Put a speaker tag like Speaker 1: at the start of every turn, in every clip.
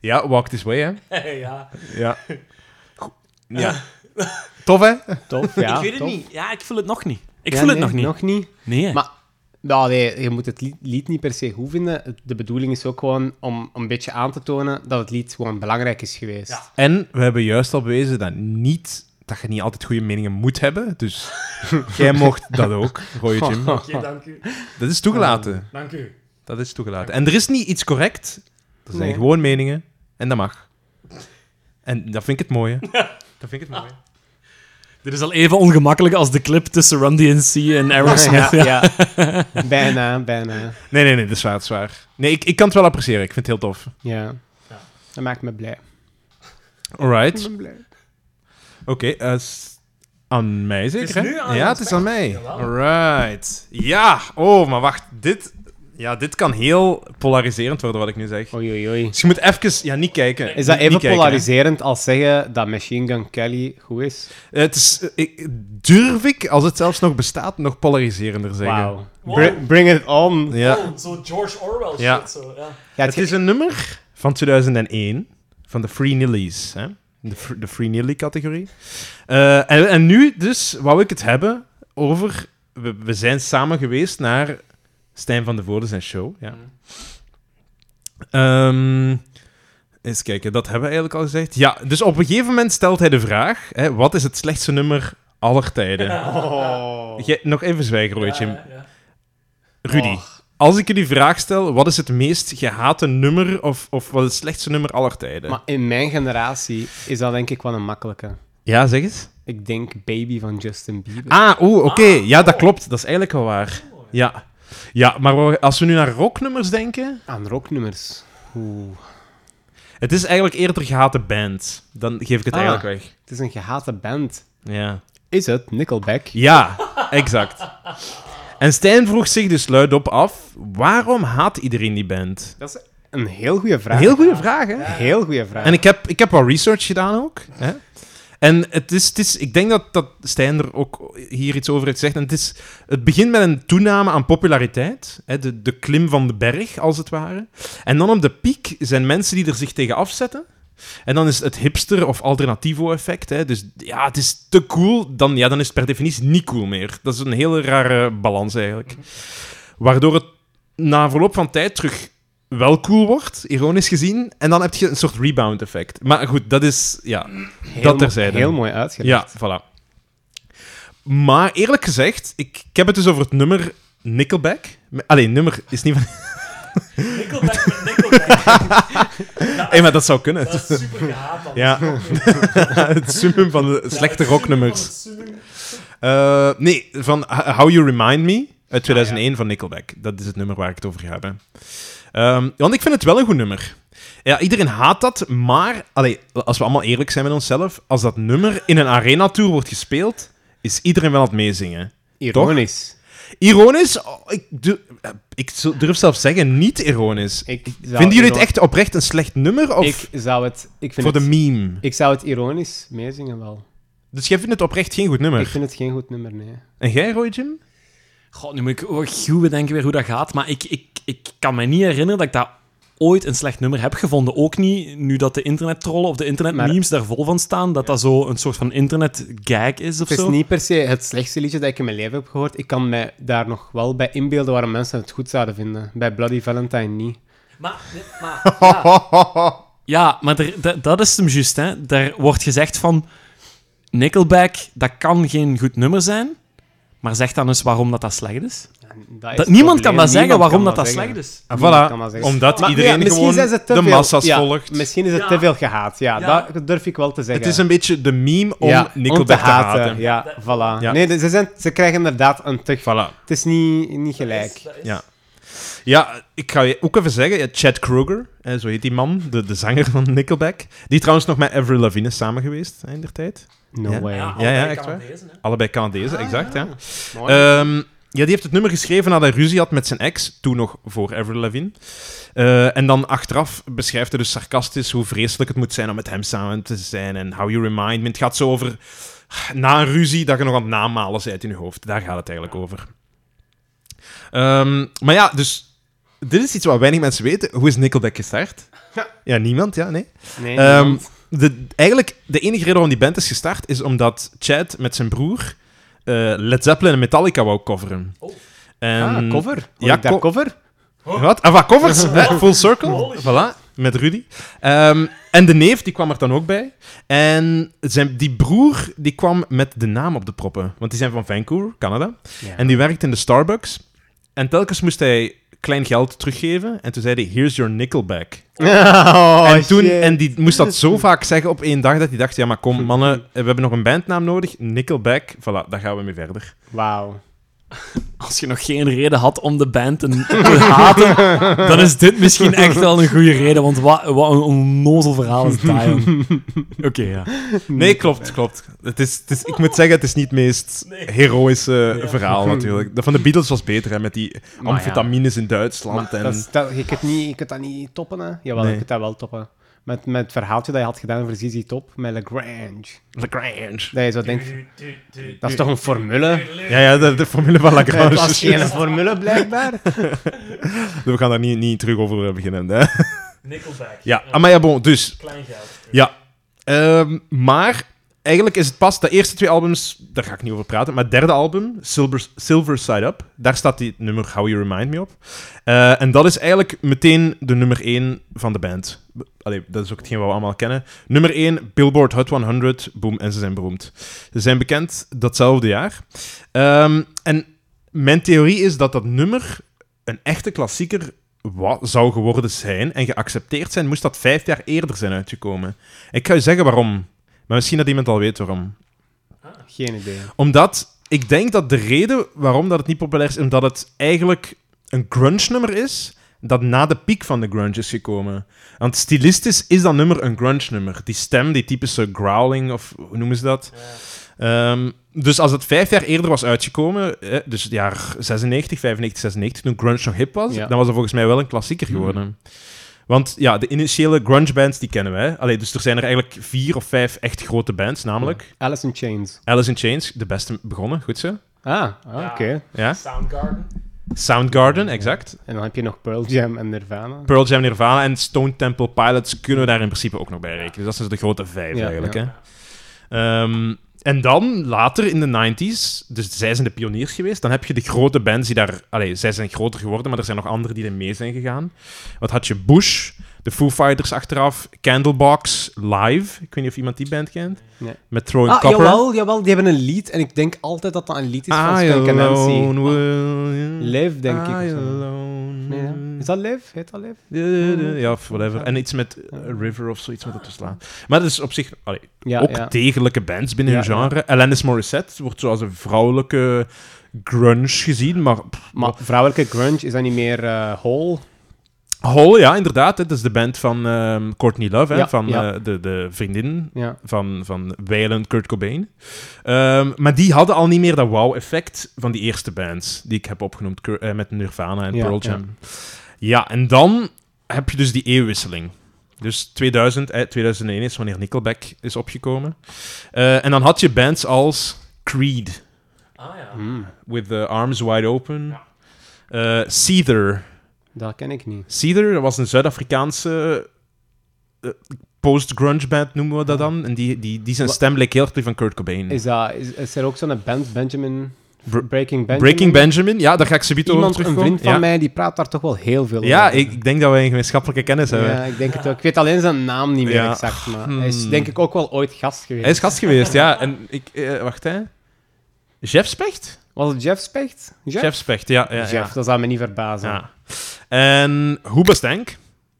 Speaker 1: Ja, Walk This Way, hè.
Speaker 2: ja.
Speaker 1: Ja. Ja. Tof, hè?
Speaker 3: Tof, ja.
Speaker 2: ik weet het
Speaker 3: tof.
Speaker 2: niet. Ja, ik voel het nog niet. Ik
Speaker 3: Ja,
Speaker 2: voel het
Speaker 3: nee,
Speaker 2: nog niet.
Speaker 3: Nog niet.
Speaker 2: Nee.
Speaker 3: Maar nou, nee, je moet het lied, lied niet per se goed vinden. Het- De bedoeling is ook gewoon om om een beetje aan te tonen dat het lied gewoon belangrijk is geweest.
Speaker 2: Ja.
Speaker 1: En we hebben juist al bewezen dat, niet, dat je niet altijd goede meningen moet hebben. Dus jij mocht dat ook, Roy Jim.
Speaker 2: Oké, dank u.
Speaker 1: Dat is toegelaten.
Speaker 2: Dank u.
Speaker 1: Dat is toegelaten. En er is niet iets correct. Er zijn
Speaker 3: Nee.
Speaker 1: gewoon meningen. En dat mag. En dat vind ik het mooie. Dat vind ik het mooie.
Speaker 2: Dit is al even ongemakkelijk als de clip tussen Run DNC en Aerosmith. ja.
Speaker 3: ja. bijna, bijna.
Speaker 1: Nee, nee, nee, dat is waar, dat is waar. Nee, ik, ik kan het wel appreciëren. Ik vind het heel tof.
Speaker 3: Ja. Dat maakt me blij.
Speaker 1: Alright.
Speaker 3: Ik ben blij.
Speaker 1: Oké, eh, s- aan mij zeker,
Speaker 2: Het is
Speaker 1: hè?
Speaker 2: nu aan
Speaker 1: Ja, het
Speaker 2: ons,
Speaker 1: is
Speaker 2: hè?
Speaker 1: aan mij.
Speaker 2: Jawel.
Speaker 1: Alright. Ja, oh, maar wacht. Dit, ja, dit kan heel polariserend worden, wat ik nu zeg.
Speaker 3: Oei, oei, oei.
Speaker 1: Dus je moet even... Ja, niet kijken.
Speaker 3: Is dat
Speaker 1: Niet-
Speaker 3: even
Speaker 1: niet kijken, hè.
Speaker 3: polariserend als zeggen dat Machine Gun Kelly goed is?
Speaker 1: Eh, Het is... eh, ik- durf ik, als het zelfs nog bestaat, nog polariserender zeggen.
Speaker 3: Wauw.
Speaker 2: Wow.
Speaker 3: Br- bring it on.
Speaker 1: Ja.
Speaker 2: Oh, zo George Orwell
Speaker 1: Ja. shit,
Speaker 2: Zo, ja.
Speaker 3: Ja,
Speaker 1: Het is een nummer van 2001 van de Free Nillies. Hè? De, fr- de Free Nilly categorie. Eh, en, en nu dus wou ik het hebben over. We, we zijn samen geweest naar Stijn van de Voorde zijn show. Ja. Ehm, eens kijken, dat hebben we eigenlijk al gezegd. Ja, dus op een gegeven moment stelt hij de vraag: hè, wat is het slechtste nummer aller tijden?
Speaker 3: Oh.
Speaker 1: Jij- nog even zwijgen, Roy Jim.
Speaker 2: ja.
Speaker 1: Rudy,
Speaker 3: Och.
Speaker 1: als ik je die vraag stel, wat is het meest gehate nummer of, of wat is het slechtste nummer aller tijden?
Speaker 3: Maar in mijn generatie is dat denk ik wel een makkelijke.
Speaker 1: Ja, zeg eens.
Speaker 3: Ik denk Baby van Justin Bieber.
Speaker 1: Ah, oeh, oké. Ja, dat klopt. Dat is eigenlijk wel waar. Ja. Ja, maar wa- als we nu naar rocknummers denken,
Speaker 3: Aan rocknummers. Oeh.
Speaker 1: het is eigenlijk eerder gehate band. Dan geef ik het
Speaker 3: Ah.
Speaker 1: eigenlijk weg.
Speaker 3: Het is een gehate band.
Speaker 1: Ja.
Speaker 3: Is het Nickelback?
Speaker 1: Ja, exact. En Stijn vroeg zich dus luidop af, waarom haat iedereen die band?
Speaker 3: Dat is een heel goede vraag.
Speaker 1: Heel goede vraag, hè?
Speaker 3: Heel goede vraag.
Speaker 1: En ik heb, ik heb wat research gedaan ook. Hè? En het is, het is, ik denk dat, dat Stijn er ook hier iets over heeft gezegd. En het, is, het begint met een toename aan populariteit. Hè? De, de klim van de berg, als het ware. En dan op de piek zijn mensen die er zich tegen afzetten. En dan is het hipster of alternativo-effect. hè. Dus ja, het is te cool. Dan, ja, dan is het per definitie niet cool meer. Dat is een hele rare balans eigenlijk. Waardoor het na verloop van tijd terug wel cool wordt, ironisch gezien. En dan heb je een soort rebound-effect. Maar goed, dat is... Ja,
Speaker 3: Heel
Speaker 1: dat
Speaker 3: mo-
Speaker 1: terzijde.
Speaker 3: Heel mooi uitgelegd.
Speaker 1: ja voilà. Maar eerlijk gezegd, ik, ik heb het dus over het nummer Nickelback. Alleen, nummer is niet van...
Speaker 2: Nickelback met Nickelback.
Speaker 1: Hé, maar dat zou kunnen.
Speaker 2: Dat is super gehaat, man.
Speaker 1: Ja. het summum van de slechte rocknummers. Eh, nee, van H- How You Remind Me
Speaker 3: Ah,
Speaker 1: uit 2001 van Nickelback. Dat is het nummer waar ik het over ga hebben. Ehm, want ik vind het wel een goed nummer. Ja, iedereen haat dat, maar allee, als we allemaal eerlijk zijn met onszelf, als dat nummer in een arena-tour wordt gespeeld, is iedereen wel aan het meezingen.
Speaker 3: Ironisch.
Speaker 1: Ironisch? Oh, ik, du- eh, ik zo- durf zelf zeggen, niet ironisch.
Speaker 3: Ik zou
Speaker 1: Vinden jullie het
Speaker 3: iron-
Speaker 1: echt oprecht een slecht nummer? Of
Speaker 3: Ik zou het... Ik vind
Speaker 1: voor de
Speaker 3: het...
Speaker 1: meme?
Speaker 3: Ik zou het ironisch meezingen wel.
Speaker 1: Dus jij vindt het oprecht geen goed
Speaker 3: Ik
Speaker 1: nummer.
Speaker 3: vind het geen goed nummer, nee.
Speaker 1: En jij, Roy Jim?
Speaker 2: God, nu moet ik oh, goed bedenken weer hoe dat gaat. Maar ik, ik, ik kan me niet herinneren dat ik dat ooit een slecht nummer heb gevonden. Ook niet nu dat de internettrollen of de internetmemes daar vol van staan. Dat dat zo een soort van internetgag is of
Speaker 3: Het is
Speaker 2: zo.
Speaker 3: niet per se het slechtste liedje dat ik in mijn leven heb gehoord. Ik kan mij daar nog wel bij inbeelden waarom mensen het goed zouden vinden. Bij Bloody Valentine niet.
Speaker 2: Maar, maar, Ja, maar er- da- dat is hem juist. Hè. Daar wordt gezegd van... Nickelback, dat kan geen goed nummer zijn. Maar zeg dan eens waarom dat, dat slecht is. Dat, niemand kan dat zeggen waarom dat, dat slecht is.
Speaker 1: Ah,
Speaker 3: Niemand
Speaker 1: voilà,
Speaker 3: kan dat zeggen.
Speaker 1: omdat
Speaker 3: Maar
Speaker 1: iedereen
Speaker 3: ja, misschien
Speaker 1: gewoon
Speaker 3: zijn ze te
Speaker 1: de
Speaker 3: veel-
Speaker 1: massa's
Speaker 3: ja,
Speaker 1: volgt.
Speaker 3: Misschien is het
Speaker 2: Ja.
Speaker 3: te veel gehaat. Ja,
Speaker 2: Ja.
Speaker 3: dat durf ik wel te zeggen.
Speaker 1: Het is een beetje de meme om
Speaker 3: Ja,
Speaker 1: Nickelback te haten.
Speaker 3: Ja, voilà.
Speaker 1: Ja.
Speaker 3: Nee, ze, zijn, ze krijgen inderdaad een te...
Speaker 1: Voilà.
Speaker 3: Het is niet, niet gelijk.
Speaker 1: Ja. ja, ik ga je ook even zeggen, ja, Chad Kroger, hè, zo heet die man, de, de zanger van Nickelback, die trouwens nog met Avril Lavigne is samen geweest hè, in der tijd.
Speaker 3: No
Speaker 1: Ja.
Speaker 3: way.
Speaker 1: ja, ja, echt waar. Allebei Canadezen, exact. Ah, Ja.
Speaker 3: Mooi.
Speaker 1: Ehm, ja, die heeft het nummer geschreven nadat hij ruzie had met zijn ex, toen nog voor Avril Lavigne. Eh, en dan achteraf beschrijft hij dus sarcastisch hoe vreselijk het moet zijn om met hem samen te zijn en how you remind me. Het gaat zo over na een ruzie dat je nog aan het namalen bent in je hoofd. Daar gaat het eigenlijk over. Ehm, maar ja, dus dit is iets wat weinig mensen weten. Hoe is Nickelback gestart? Ja, niemand, ja, nee.
Speaker 3: Nee,
Speaker 1: Ehm,
Speaker 3: want-
Speaker 1: de, eigenlijk, de enige reden waarom die band is gestart, is omdat Chad met zijn broer eh, Led Zeppelin en Metallica wou coveren. En-
Speaker 3: Oh. ah, cover. Hoor
Speaker 1: ja,
Speaker 3: ik daar
Speaker 1: co-
Speaker 3: cover?
Speaker 1: Wat? Ah, wat, covers? hè? Full Circle. Voilà, met Rudy. Ehm, en de neef, die kwam er dan ook bij. En zijn, die broer, die kwam met de naam op de proppen. Want die zijn van Vancouver, Canada.
Speaker 3: Ja.
Speaker 1: En die werkte in de Starbucks. En telkens moest hij klein geld teruggeven. En toen zei hij, here's your nickelback.
Speaker 3: Oh,
Speaker 1: en, toen,
Speaker 3: shit.
Speaker 1: en die moest dat zo vaak zeggen op één dag, dat hij dacht, ja maar kom mannen, we hebben nog een bandnaam nodig. Nickelback, voilà, daar gaan we mee verder.
Speaker 3: Wauw.
Speaker 2: Als je nog geen reden had om de band te, te haten, dan is dit misschien echt wel een goede reden, want wat, wat een onnozel verhaal is dat, jong. Oké, ja.
Speaker 1: Nee, klopt, klopt. Het is, het is, ik moet zeggen, het is niet het meest heroïsche verhaal natuurlijk. Dat van de Beatles was beter, hè, met die
Speaker 3: ja.
Speaker 1: amfetamines in Duitsland.
Speaker 3: Maar
Speaker 1: en...
Speaker 3: dat is- dat- je, kunt niet, je kunt dat niet toppen, hè? Jawel,
Speaker 1: Nee.
Speaker 3: je kunt dat wel toppen. Met, met het verhaaltje dat je had gedaan voor ZZ Top, met Lagrange.
Speaker 1: Lagrange.
Speaker 3: Dat je zo denkt, dat is toch een formule?
Speaker 1: Ja, ja de, de formule van
Speaker 3: Het
Speaker 1: Lagrange.
Speaker 3: was geen formule, blijkbaar.
Speaker 1: We gaan daar niet, niet terug over eh, beginnen. Hè.
Speaker 2: Nickelback.
Speaker 1: Ja, ah, maar ja, bon, dus
Speaker 2: Klein geld.
Speaker 1: Ja. Ehm, maar eigenlijk is het pas de eerste twee albums, daar ga ik niet over praten, maar het derde album, Silver, Silver Side Up, daar staat die het nummer How You Remind Me op. Eh, en dat is eigenlijk meteen de nummer één van de band. Allee, dat is ook hetgeen wat we allemaal kennen. Nummer 1, Billboard Hot 100, boom, en ze zijn beroemd. Ze zijn bekend datzelfde jaar. Ehm, en mijn theorie is dat dat nummer een echte klassieker wa- zou geworden zijn en geaccepteerd zijn, moest dat vijf jaar eerder zijn uitgekomen. Ik ga je zeggen waarom. Maar misschien dat iemand al weet waarom.
Speaker 3: Geen idee.
Speaker 1: Omdat ik denk dat de reden waarom dat het niet populair is, omdat het eigenlijk een grunge-nummer is dat na de piek van de grunge is gekomen. Want stilistisch is dat nummer een grunge-nummer. Die stem, die typische growling, of hoe noemen ze dat? Ehm, dus als het vijf jaar eerder was uitgekomen, eh, dus het jaar 96, 95, 96, toen grunge nog hip was,
Speaker 3: Ja.
Speaker 1: dan was dat volgens mij wel een klassieker geworden. Want ja, de initiële grunge bands, die kennen wij. Allee, dus er zijn er eigenlijk vier of vijf echt grote bands, namelijk...
Speaker 3: Alice in Chains.
Speaker 1: Alice in Chains, de beste begonnen, goed zo.
Speaker 3: Ah, ah, oké.
Speaker 1: Ja.
Speaker 2: Soundgarden.
Speaker 1: Soundgarden, exact.
Speaker 3: En dan heb je nog Pearl Jam en Nirvana.
Speaker 1: Pearl Jam, Nirvana en Stone Temple Pilots kunnen we daar in principe ook nog bij rekenen. Dus dat zijn de grote vijf
Speaker 3: Ja,
Speaker 1: eigenlijk.
Speaker 3: ja.
Speaker 1: Hè? Ehm, en dan later in de 90s, dus zij zijn de pioniers geweest, dan heb je de grote bands die daar. Allee, zij zijn groter geworden, maar er zijn nog anderen die er mee zijn gegaan. Wat had je? Bush, de Foo Fighters achteraf, Candlebox, Live. Ik weet niet of iemand die band kent.
Speaker 3: Nee.
Speaker 1: Met Throwing
Speaker 3: Ah,
Speaker 1: Copper.
Speaker 3: jawel, jawel, die hebben een lied. En ik denk altijd dat dat een lied is
Speaker 1: Ah,
Speaker 3: van Skank en Nancy.
Speaker 1: Alone will you-
Speaker 3: Live, denk ik. of
Speaker 1: I
Speaker 3: zo.
Speaker 1: alone.
Speaker 3: Nee, hè? Is dat Live? Heet dat Live?
Speaker 1: Ja, of whatever. En iets met eh, River of zoiets met dat te slaan. Maar dat is op zich allee,
Speaker 3: Ja,
Speaker 1: ook
Speaker 3: ja.
Speaker 1: degelijke bands binnen
Speaker 3: Ja,
Speaker 1: hun genre. Alanis Morissette wordt zoals een vrouwelijke grunge gezien, maar... pff,
Speaker 3: Maar vrouwelijke grunge, is dat niet meer eh Hole?
Speaker 1: Hole, ja, inderdaad. hè, Dat is de band van ehm, Courtney Love, hè,
Speaker 3: Ja,
Speaker 1: van
Speaker 3: ja.
Speaker 1: eh, de, de vriendin
Speaker 3: Ja.
Speaker 1: van, van Weiland Kurt Cobain. Ehm, maar die hadden al niet meer dat wow-effect van die eerste bands die ik heb opgenoemd Cur- eh, met Nirvana en
Speaker 3: Ja,
Speaker 1: Pearl Jam. Ja. en dan heb je dus die eeuwwisseling. Dus 2000, eh, 2001 is wanneer Nickelback is opgekomen. Eh, en dan had je bands als Creed,
Speaker 2: Ah ja.
Speaker 3: Hmm,
Speaker 1: With the Arms Wide Open, Eh Seether,
Speaker 3: dat ken ik niet.
Speaker 1: Cedar, dat was een Zuid-Afrikaanse eh, post-grunge band, noemen we dat dan. En die, die, die zijn
Speaker 3: Ah. Wa-
Speaker 1: stem leek heel erg op die van Kurt Cobain.
Speaker 3: Is, dat, is, is er ook zo'n band, Benjamin...
Speaker 1: Br-
Speaker 3: Breaking Benjamin?
Speaker 1: Breaking Benjamin, ja, daar ga ik zo over
Speaker 3: Iemand, een
Speaker 1: terugkomen.
Speaker 3: vriend van
Speaker 1: ja.
Speaker 3: mij, die praat daar toch wel heel veel over.
Speaker 1: Ja, ik, ik denk dat wij een gemeenschappelijke kennis hebben.
Speaker 3: Ja, ik denk het ook. Ik weet alleen zijn naam niet meer
Speaker 1: Ja.
Speaker 3: exact, maar
Speaker 1: Hmm.
Speaker 3: hij is denk ik ook wel ooit gast geweest.
Speaker 1: Hij is gast geweest, ja. En ik, eh, wacht hè. Jeff Specht?
Speaker 3: Was het Jeff Specht? Jeff?
Speaker 1: Jeff Specht, ja. ja,
Speaker 3: Jeff,
Speaker 1: ja.
Speaker 3: dat zou me niet verbazen.
Speaker 1: ja. En Hoeba Stank,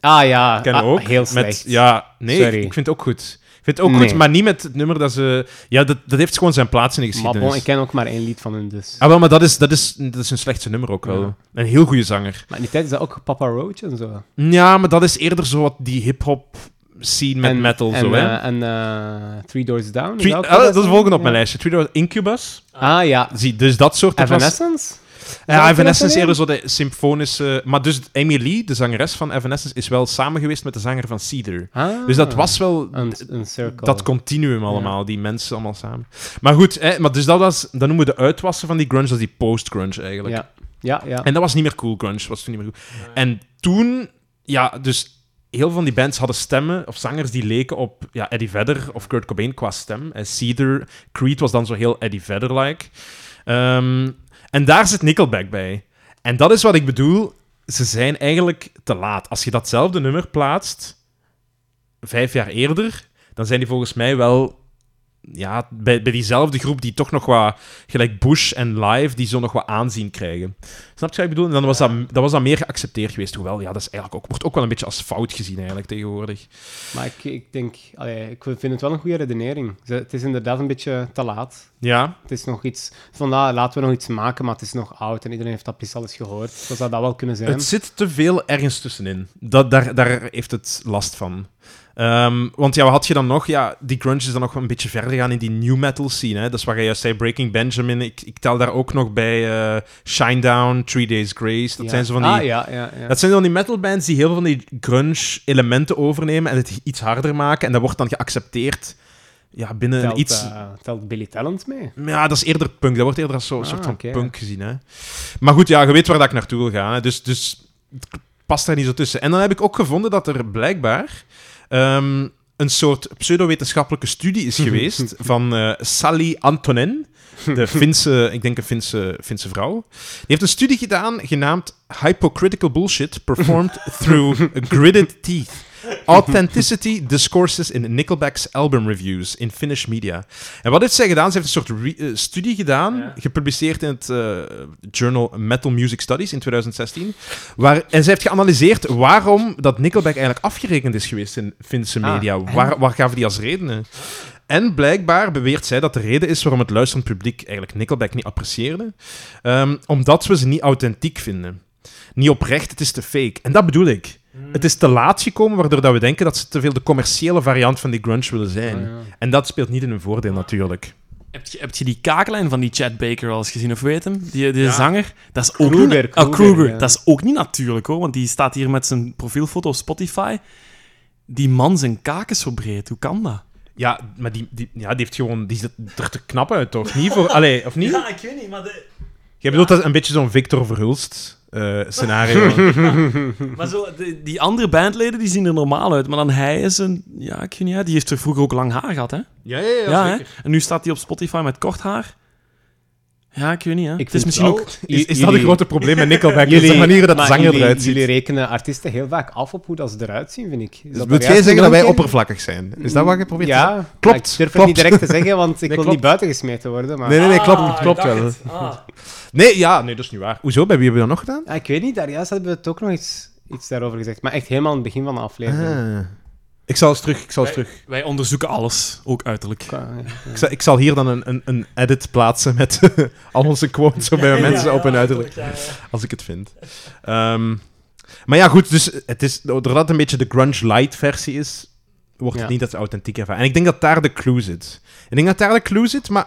Speaker 3: Ah ja,
Speaker 1: ken
Speaker 3: ah,
Speaker 1: ook.
Speaker 3: heel slecht.
Speaker 1: Met, ja, nee,
Speaker 3: Sorry.
Speaker 1: ik vind het ook goed. Ik vind het ook
Speaker 3: Nee.
Speaker 1: goed, maar niet met het nummer dat ze... Ja, dat, dat heeft gewoon zijn plaats in de
Speaker 3: maar
Speaker 1: geschiedenis.
Speaker 3: bon, ik ken ook maar één lied van hun dus.
Speaker 1: Ah, wel, maar dat is, dat, is, dat is een slechtste nummer ook wel.
Speaker 3: Ja.
Speaker 1: Een heel goede zanger.
Speaker 3: Maar in die tijd is dat ook Papa Roach en zo.
Speaker 1: Ja, maar dat is eerder zo wat die hip-hop scene met
Speaker 3: en,
Speaker 1: metal.
Speaker 3: en,
Speaker 1: zo, hè?
Speaker 3: eh, en eh, Three Doors Down. is
Speaker 1: Three-
Speaker 3: ook
Speaker 1: ah,
Speaker 3: wel
Speaker 1: dat is
Speaker 3: een-
Speaker 1: volgende op
Speaker 3: ja.
Speaker 1: mijn lijstje. Three Doors Incubus.
Speaker 3: Ah ja,
Speaker 1: Zie, dus dat soort. dat was-
Speaker 3: Evanescence?
Speaker 1: Ja,
Speaker 3: Is dat
Speaker 1: Evanescence is
Speaker 3: een
Speaker 1: eerder zo de symfonische. Maar dus Amy Lee, de zangeres van Evanescence, is wel samen geweest met de zanger van Cedar.
Speaker 3: Ah,
Speaker 1: Dus dat was wel
Speaker 3: Een, een circle.
Speaker 1: dat continuum allemaal, die mensen allemaal samen. Maar goed, hè, maar dus dat was, dat noemen we de uitwassen van die grunge, dat is die post-grunge eigenlijk.
Speaker 3: Ja, ja, ja.
Speaker 1: En dat was niet meer cool grunge, was toen niet meer goed. En toen, ja, dus heel veel van die bands hadden stemmen of zangers die leken op ja, Eddie Vedder of Kurt Cobain qua stem. En Cedar, Creed was dan zo heel Eddie Vedder-like. Ehm, en daar zit Nickelback bij. En dat is wat ik bedoel. Ze zijn eigenlijk te laat. Als je datzelfde nummer plaatst vijf jaar eerder, dan zijn die volgens mij wel ja, bij, bij diezelfde groep die toch nog wat, gelijk Bush en Live, die zo nog wat aanzien krijgen. Snap je wat ik bedoel? En dan was dat, dat was dat meer geaccepteerd geweest. Hoewel, ja, dat is eigenlijk ook, wordt ook wel een beetje als fout gezien eigenlijk tegenwoordig.
Speaker 3: Maar ik, ik denk, allee, ik vind het wel een goede redenering. Ze- Het is inderdaad een beetje te laat.
Speaker 1: Ja,
Speaker 3: Het is nog iets van, ah, laten we nog iets maken, maar het is nog oud en iedereen heeft dat precies alles gehoord. Zo zou dat wel kunnen zijn.
Speaker 1: Het zit te veel ergens tussenin. Dat, daar, daar heeft het last van. Ehm, want ja, wat had je dan nog? Ja, die grunge is dan nog wel een beetje verder gaan in die new metal scene. Hè? Dat is waar je juist zei, Breaking Benjamin. Ik, ik tel daar ook nog bij eh, Shinedown, Three Days Grace. Dat
Speaker 3: Ja.
Speaker 1: zijn zo van die...
Speaker 3: Ah, ja, ja, ja.
Speaker 1: Dat zijn dan die metalbands die heel veel van die grunge-elementen overnemen en het iets harder maken. En dat wordt dan geaccepteerd ja, binnen
Speaker 3: telt,
Speaker 1: een iets...
Speaker 3: eh, telt Billy Talent mee?
Speaker 1: Ja, dat is eerder punk. Dat wordt eerder als zo'n
Speaker 3: Ah,
Speaker 1: soort van
Speaker 3: oké.
Speaker 1: punk gezien. Hè. Maar goed, ja, je weet waar dat ik naartoe wil gaan. Hè. Dus, dus het k- past daar niet zo tussen. En dan heb ik ook gevonden dat er blijkbaar ehm, een soort pseudowetenschappelijke studie is geweest van eh, Sally Antonen, de Finse, ik denk een Finse, Finse vrouw. Die heeft een studie gedaan genaamd Hypocritical Bullshit Performed Through Gridded Teeth. Authenticity Discourses in Nickelback's Album Reviews in Finnish Media. En wat heeft zij gedaan? Ze heeft een soort re- eh, studie gedaan, gepubliceerd in het eh, journal Metal Music Studies in 2016. Waar, en zij heeft geanalyseerd waarom dat Nickelback eigenlijk afgerekend is geweest in Finse
Speaker 3: Ah,
Speaker 1: media. waar, waar gaven die als redenen? En blijkbaar beweert zij dat de reden is waarom het luisterend publiek eigenlijk Nickelback niet apprecieerde. Ehm, omdat we ze niet authentiek vinden. Niet oprecht, het is te fake. En dat bedoel ik.
Speaker 3: Hmm.
Speaker 1: Het is te laat gekomen, waardoor dat we denken dat ze te veel de commerciële variant van die grunge willen zijn.
Speaker 3: Ah, ja.
Speaker 1: En dat speelt niet in hun voordeel, natuurlijk.
Speaker 2: Heb je, heb je die kaaklijn van die Chad Baker al eens gezien, of weet hem? Die, die
Speaker 1: Ja.
Speaker 2: zanger. Dat is ook
Speaker 3: Kruger,
Speaker 2: niet, ah,
Speaker 3: Kruger, ja.
Speaker 2: Dat is ook niet natuurlijk, hoor. Want die staat hier met zijn profielfoto op Spotify. Die man zijn kaak is zo breed. Hoe kan dat?
Speaker 1: Ja, maar die, die, ja, die heeft gewoon... Die zit er te knap uit, toch? Niet voor... Allee, of niet?
Speaker 2: ik weet niet, maar,
Speaker 1: Jij bedoelt dat is een beetje zo'n Victor Verhulst eh, scenario.
Speaker 2: maar zo, de- die andere bandleden die zien er normaal uit. Maar dan hij is een... Ja, ik weet niet. ja, Die heeft er vroeger ook lang haar gehad, hè?
Speaker 1: ja, ja, ja,
Speaker 2: Ja, hè? En nu staat hij op Spotify met kort haar. Ja, ik weet niet, hè?
Speaker 3: Ik
Speaker 2: het is
Speaker 3: vind
Speaker 2: misschien
Speaker 3: wel-
Speaker 2: ook...
Speaker 1: Is, is dat
Speaker 3: Jullie-
Speaker 1: een grote probleem met Nickelback? Is de manier dat de
Speaker 3: maar
Speaker 1: zanger
Speaker 3: jullie,
Speaker 1: eruit ziet?
Speaker 3: Jullie rekenen artiesten heel vaak af op hoe dat ze eruit zien, vind ik. Is
Speaker 1: Dus
Speaker 3: dat
Speaker 1: moet
Speaker 3: de
Speaker 1: jij
Speaker 3: juiste
Speaker 1: zeggen dat wij
Speaker 3: benadering?
Speaker 1: oppervlakkig zijn? Is dat wat je probeert te
Speaker 3: Ja,
Speaker 1: zeggen?
Speaker 3: maar
Speaker 1: Klopt,
Speaker 3: Ik durf het
Speaker 1: klopt.
Speaker 3: niet direct te zeggen, want ik
Speaker 1: Nee,
Speaker 3: wil
Speaker 1: klopt.
Speaker 3: niet buiten gesmeten worden. Maar...
Speaker 1: Nee, nee, nee, klopt,
Speaker 2: Ah,
Speaker 1: klopt wel. Ah, Nee, ja, nee, dat is niet waar. Hoezo? Bij wie hebben we dat nog gedaan?
Speaker 3: Ah, ik weet niet, daar juist hebben we het ook nog iets, iets daarover gezegd. Maar echt helemaal aan het begin van de aflevering.
Speaker 1: Ah. Ik zal eens terug, ik zal eens terug.
Speaker 2: Wij onderzoeken alles, ook uiterlijk.
Speaker 1: Ah.
Speaker 3: Qua- Ah, ja.
Speaker 1: Ik zal, ik zal hier dan een, een, een edit plaatsen met al onze quotes zo bij mensen op en uiterlijk. Als ik het vind. Ehm, maar ja, goed, dus het is, doordat het een beetje de grunge light versie is, wordt het
Speaker 3: Ja.
Speaker 1: niet dat authentiek ervaren. En ik denk dat daar de clue zit. Ik denk dat daar de clue zit, maar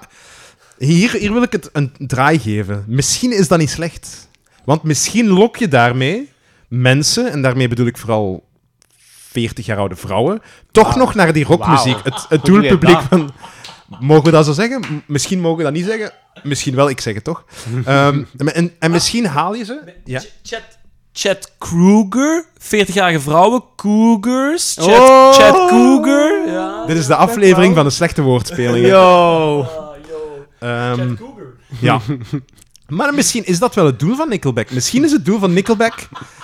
Speaker 1: hier, hier wil ik het een draai geven. Misschien is dat niet slecht. Want misschien lok je daarmee mensen, en daarmee bedoel ik vooral 40 jaar oude vrouwen, toch
Speaker 3: Wauw.
Speaker 1: nog naar die rockmuziek.
Speaker 3: Wauw.
Speaker 1: Het, het
Speaker 3: Hoe doe je
Speaker 1: doelpubliek
Speaker 3: dat?
Speaker 1: van... Mogen we dat zo zeggen? M- misschien mogen we dat niet zeggen. Misschien wel, ik zeg het toch. Ehm, en, en misschien haal je ze... Ja.
Speaker 2: Chat, Chat Kruger, 40-jarige vrouwen, Cougars, Chat,
Speaker 1: Oh.
Speaker 2: Chat Cougar. Ja.
Speaker 1: Dit is de aflevering van de slechte woordspelingen.
Speaker 3: Yo! Mm.
Speaker 1: Ehm, ja. Maar misschien is dat wel het doel van Nickelback. Misschien is het doel van Nickelback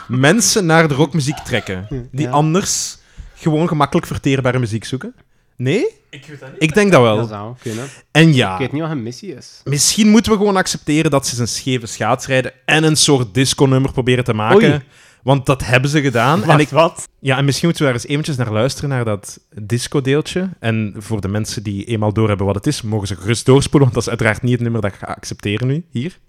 Speaker 1: mensen naar de rockmuziek trekken. Die
Speaker 3: Ja.
Speaker 1: anders gewoon gemakkelijk verteerbare muziek zoeken. Nee?
Speaker 2: Ik weet dat niet.
Speaker 1: Ik denk dat
Speaker 3: Dat
Speaker 1: wel.
Speaker 3: zou kunnen.
Speaker 1: En
Speaker 3: Ik
Speaker 1: ja,
Speaker 3: weet niet wat hun missie is.
Speaker 1: misschien moeten we gewoon accepteren dat ze eens een scheve schaats rijden en een soort disco-nummer proberen te maken.
Speaker 3: Oei.
Speaker 1: Want dat hebben ze gedaan. en
Speaker 3: Wacht,
Speaker 1: ik,
Speaker 3: wat?
Speaker 1: ja, en misschien moeten we daar eens eventjes naar luisteren, naar dat disco-deeltje. En voor de mensen die eenmaal doorhebben wat het is, mogen ze gerust doorspoelen, want dat is uiteraard niet het nummer dat ik ga accepteren nu, hier.